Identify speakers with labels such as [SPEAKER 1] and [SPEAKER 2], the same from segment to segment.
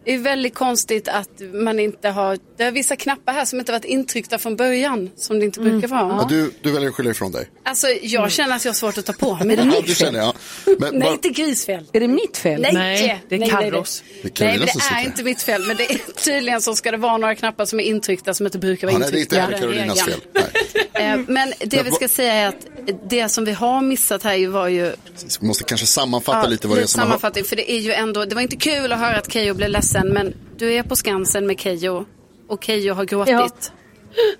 [SPEAKER 1] det är väldigt konstigt att man inte har, det är vissa knappar här som inte varit intryckta från början, som det inte brukar vara.
[SPEAKER 2] Ja. Du, du väljer att skylla ifrån dig.
[SPEAKER 1] Alltså jag känner att jag har svårt att ta på mig det.
[SPEAKER 2] Ja, du känner jag. Men,
[SPEAKER 1] Nej,
[SPEAKER 2] bara-
[SPEAKER 1] inte grisfel.
[SPEAKER 3] Är det mitt fel?
[SPEAKER 1] Nej,
[SPEAKER 4] Nej, det är
[SPEAKER 1] nej, nej,
[SPEAKER 4] Carros.
[SPEAKER 1] nej.
[SPEAKER 2] Det är Carina
[SPEAKER 1] Nej, men
[SPEAKER 2] som
[SPEAKER 1] det
[SPEAKER 2] sitter
[SPEAKER 1] är
[SPEAKER 2] här.
[SPEAKER 1] inte mitt fel. Men det är, tydligen så ska det vara några knappar som är intryckta som inte brukar vara
[SPEAKER 2] ja, nej, det är
[SPEAKER 1] intryckta.
[SPEAKER 2] inte heller
[SPEAKER 1] på den
[SPEAKER 2] Karolinas fel.
[SPEAKER 1] regeln.
[SPEAKER 2] Nej.
[SPEAKER 1] Eh, Men det vi ska säga är att det som vi har missat här ju var ju
[SPEAKER 2] Vi måste kanske sammanfatta
[SPEAKER 1] Ja,
[SPEAKER 2] lite vad det är som har...
[SPEAKER 1] sammanfattning, för det är ju ändå, det var inte kul att höra att Keyyo blev ledsen, men du är på Skansen med Keyyo och Keyyo har gråtit.
[SPEAKER 3] Ja.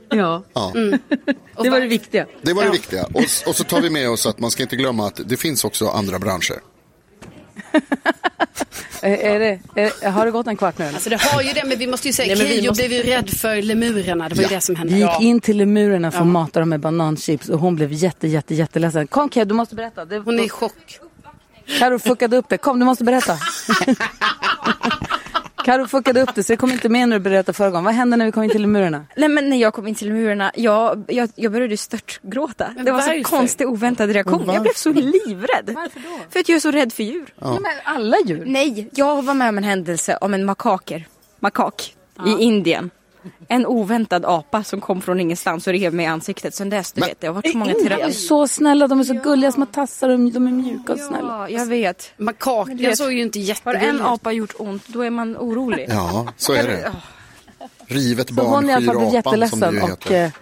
[SPEAKER 3] Ja.
[SPEAKER 2] Ja.
[SPEAKER 5] Mm.
[SPEAKER 1] Och
[SPEAKER 3] Det var
[SPEAKER 1] var-
[SPEAKER 3] det viktiga.
[SPEAKER 2] Det var det
[SPEAKER 1] Ja.
[SPEAKER 2] viktiga. Och, och så tar vi med oss att man ska inte glömma att det finns också andra branscher.
[SPEAKER 3] Är, är det, är, har det gått en kvart nu? eller?
[SPEAKER 1] Alltså det har ju det, men vi måste ju säga,
[SPEAKER 4] Nej, men vi
[SPEAKER 1] Keyyo
[SPEAKER 4] måste-
[SPEAKER 1] blev ju rädd för lemurerna, det var ju det som hände.
[SPEAKER 3] Vi gick in till lemurerna för att mata dem med bananchips och hon blev jätte, jätte, jätteledsen. Kom Keyyo, du måste berätta. Det,
[SPEAKER 1] Hon är i chock.
[SPEAKER 3] Karo fuckade upp det. Kom, du måste berätta. Karo fuckade upp det, så jag kom inte med när du berättade förra gången. Vad hände när vi kom in till murarna?
[SPEAKER 5] Nej men när jag kom in till murarna, jag, jag, jag började störtgråta.
[SPEAKER 1] Men
[SPEAKER 5] Det var
[SPEAKER 1] varför?
[SPEAKER 5] så konstig oväntad reaktion. Jag blev så livrädd. Varför då? För att jag är så rädd för djur.
[SPEAKER 3] Ja. Men alla djur.
[SPEAKER 5] Nej, jag var med om en händelse om en makaker, makak, i Indien. En oväntad apa som kom från ingenstans och rev mig i ansiktet. Sen dess, du vet, det har varit så många
[SPEAKER 3] De är
[SPEAKER 5] terapier.
[SPEAKER 3] så snälla, de är så gulliga små tassar och de är mjuka och snälla.
[SPEAKER 5] Ja, jag vet.
[SPEAKER 1] Makaken
[SPEAKER 5] du vet-
[SPEAKER 1] såg ju inte
[SPEAKER 5] Har
[SPEAKER 1] jättegullig
[SPEAKER 5] en
[SPEAKER 1] ut.
[SPEAKER 5] apa gjort ont, då är man orolig.
[SPEAKER 2] Ja, så är det. Rivet
[SPEAKER 3] Så
[SPEAKER 2] barn
[SPEAKER 3] hon i alla fall blev
[SPEAKER 2] skyr apan som det ju
[SPEAKER 3] jätteledsen och...
[SPEAKER 2] heter.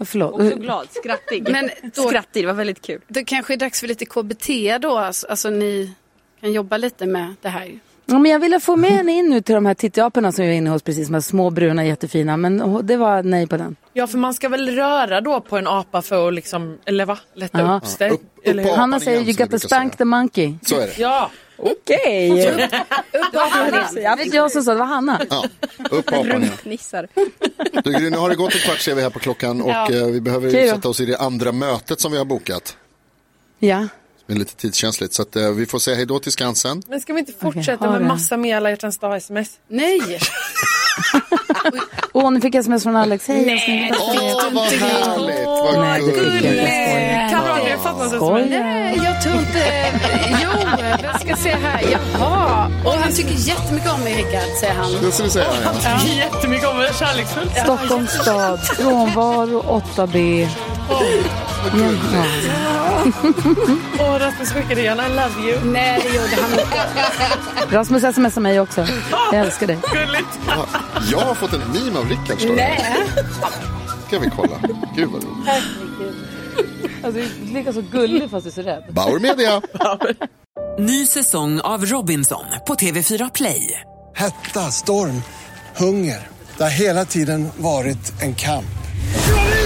[SPEAKER 3] Eh, förlåt.
[SPEAKER 5] Också glad, skrattig.
[SPEAKER 1] Men då-
[SPEAKER 5] Skrattig, det var väldigt kul.
[SPEAKER 1] Det kanske är dags för lite KBT då, alltså, alltså ni kan jobba lite med det här.
[SPEAKER 3] Ja, men jag ville få med henne in nu till de här tittjaporna som vi var inne hos precis, de här små bruna jättefina. Men oh, det var nej på den.
[SPEAKER 4] Ja, för man ska väl röra då på en apa för att liksom, eller va? Lätta
[SPEAKER 3] Ja.
[SPEAKER 4] upp sig.
[SPEAKER 2] Ja, upp- upp
[SPEAKER 4] eller hur?
[SPEAKER 2] på-
[SPEAKER 3] Hanna
[SPEAKER 2] igen,
[SPEAKER 3] säger
[SPEAKER 2] som
[SPEAKER 3] you
[SPEAKER 2] jag
[SPEAKER 3] got to
[SPEAKER 2] brukar
[SPEAKER 3] spank
[SPEAKER 2] säga.
[SPEAKER 3] the monkey.
[SPEAKER 2] Så är det.
[SPEAKER 4] Ja,
[SPEAKER 5] Okej.
[SPEAKER 3] Det var inte jag som sa det, det var Hanna.
[SPEAKER 2] Ja. Upp på apan igen.
[SPEAKER 5] Rumpnissar.
[SPEAKER 2] Du Gry, nu har det gått en kvart ser vi här på klockan och eh, vi behöver
[SPEAKER 3] Okej då.
[SPEAKER 2] sätta oss i det andra mötet som vi har bokat.
[SPEAKER 3] Ja.
[SPEAKER 2] Det är lite tidskänsligt så att, eh, vi får säga hej då till Skansen.
[SPEAKER 4] men ska vi inte fortsätta
[SPEAKER 3] Okej, ha
[SPEAKER 4] med
[SPEAKER 3] det.
[SPEAKER 4] massa mer alla hjärtans dag-sms?
[SPEAKER 1] Nej,
[SPEAKER 3] Åh, nu fick jag sms från Alex. Hej, jag ska inte-
[SPEAKER 2] Åh, vad härligt! Vad
[SPEAKER 3] Nej, det fick jag inte.
[SPEAKER 2] gulligt!
[SPEAKER 4] Karl, du fattar inte ens vad det är.
[SPEAKER 1] nej, jag tror inte... Jo, jag ska se här. Jaha. Och han tycker jättemycket om mig, Rickard, säger han.
[SPEAKER 2] Det ska vi säga. Ja.
[SPEAKER 4] Jättemycket om det, kärleksfullt.
[SPEAKER 3] Stockholms stad, frånvaro 8B. Ja.
[SPEAKER 4] Åh, Rasmus skickade gärna I love you.
[SPEAKER 1] Nej, det gjorde han inte.
[SPEAKER 3] Rasmus smsar mig också. Jag älskar dig.
[SPEAKER 2] Jag har fått en meme av Rickard står det. ska vi kolla. Gud vad roligt.
[SPEAKER 3] Alltså, du är så gullig fast du är så rädd.
[SPEAKER 2] Bauer Media.
[SPEAKER 6] Ny säsong av Robinson på TV4 Play.
[SPEAKER 7] Hetta, storm, hunger. Det har hela tiden varit en kamp.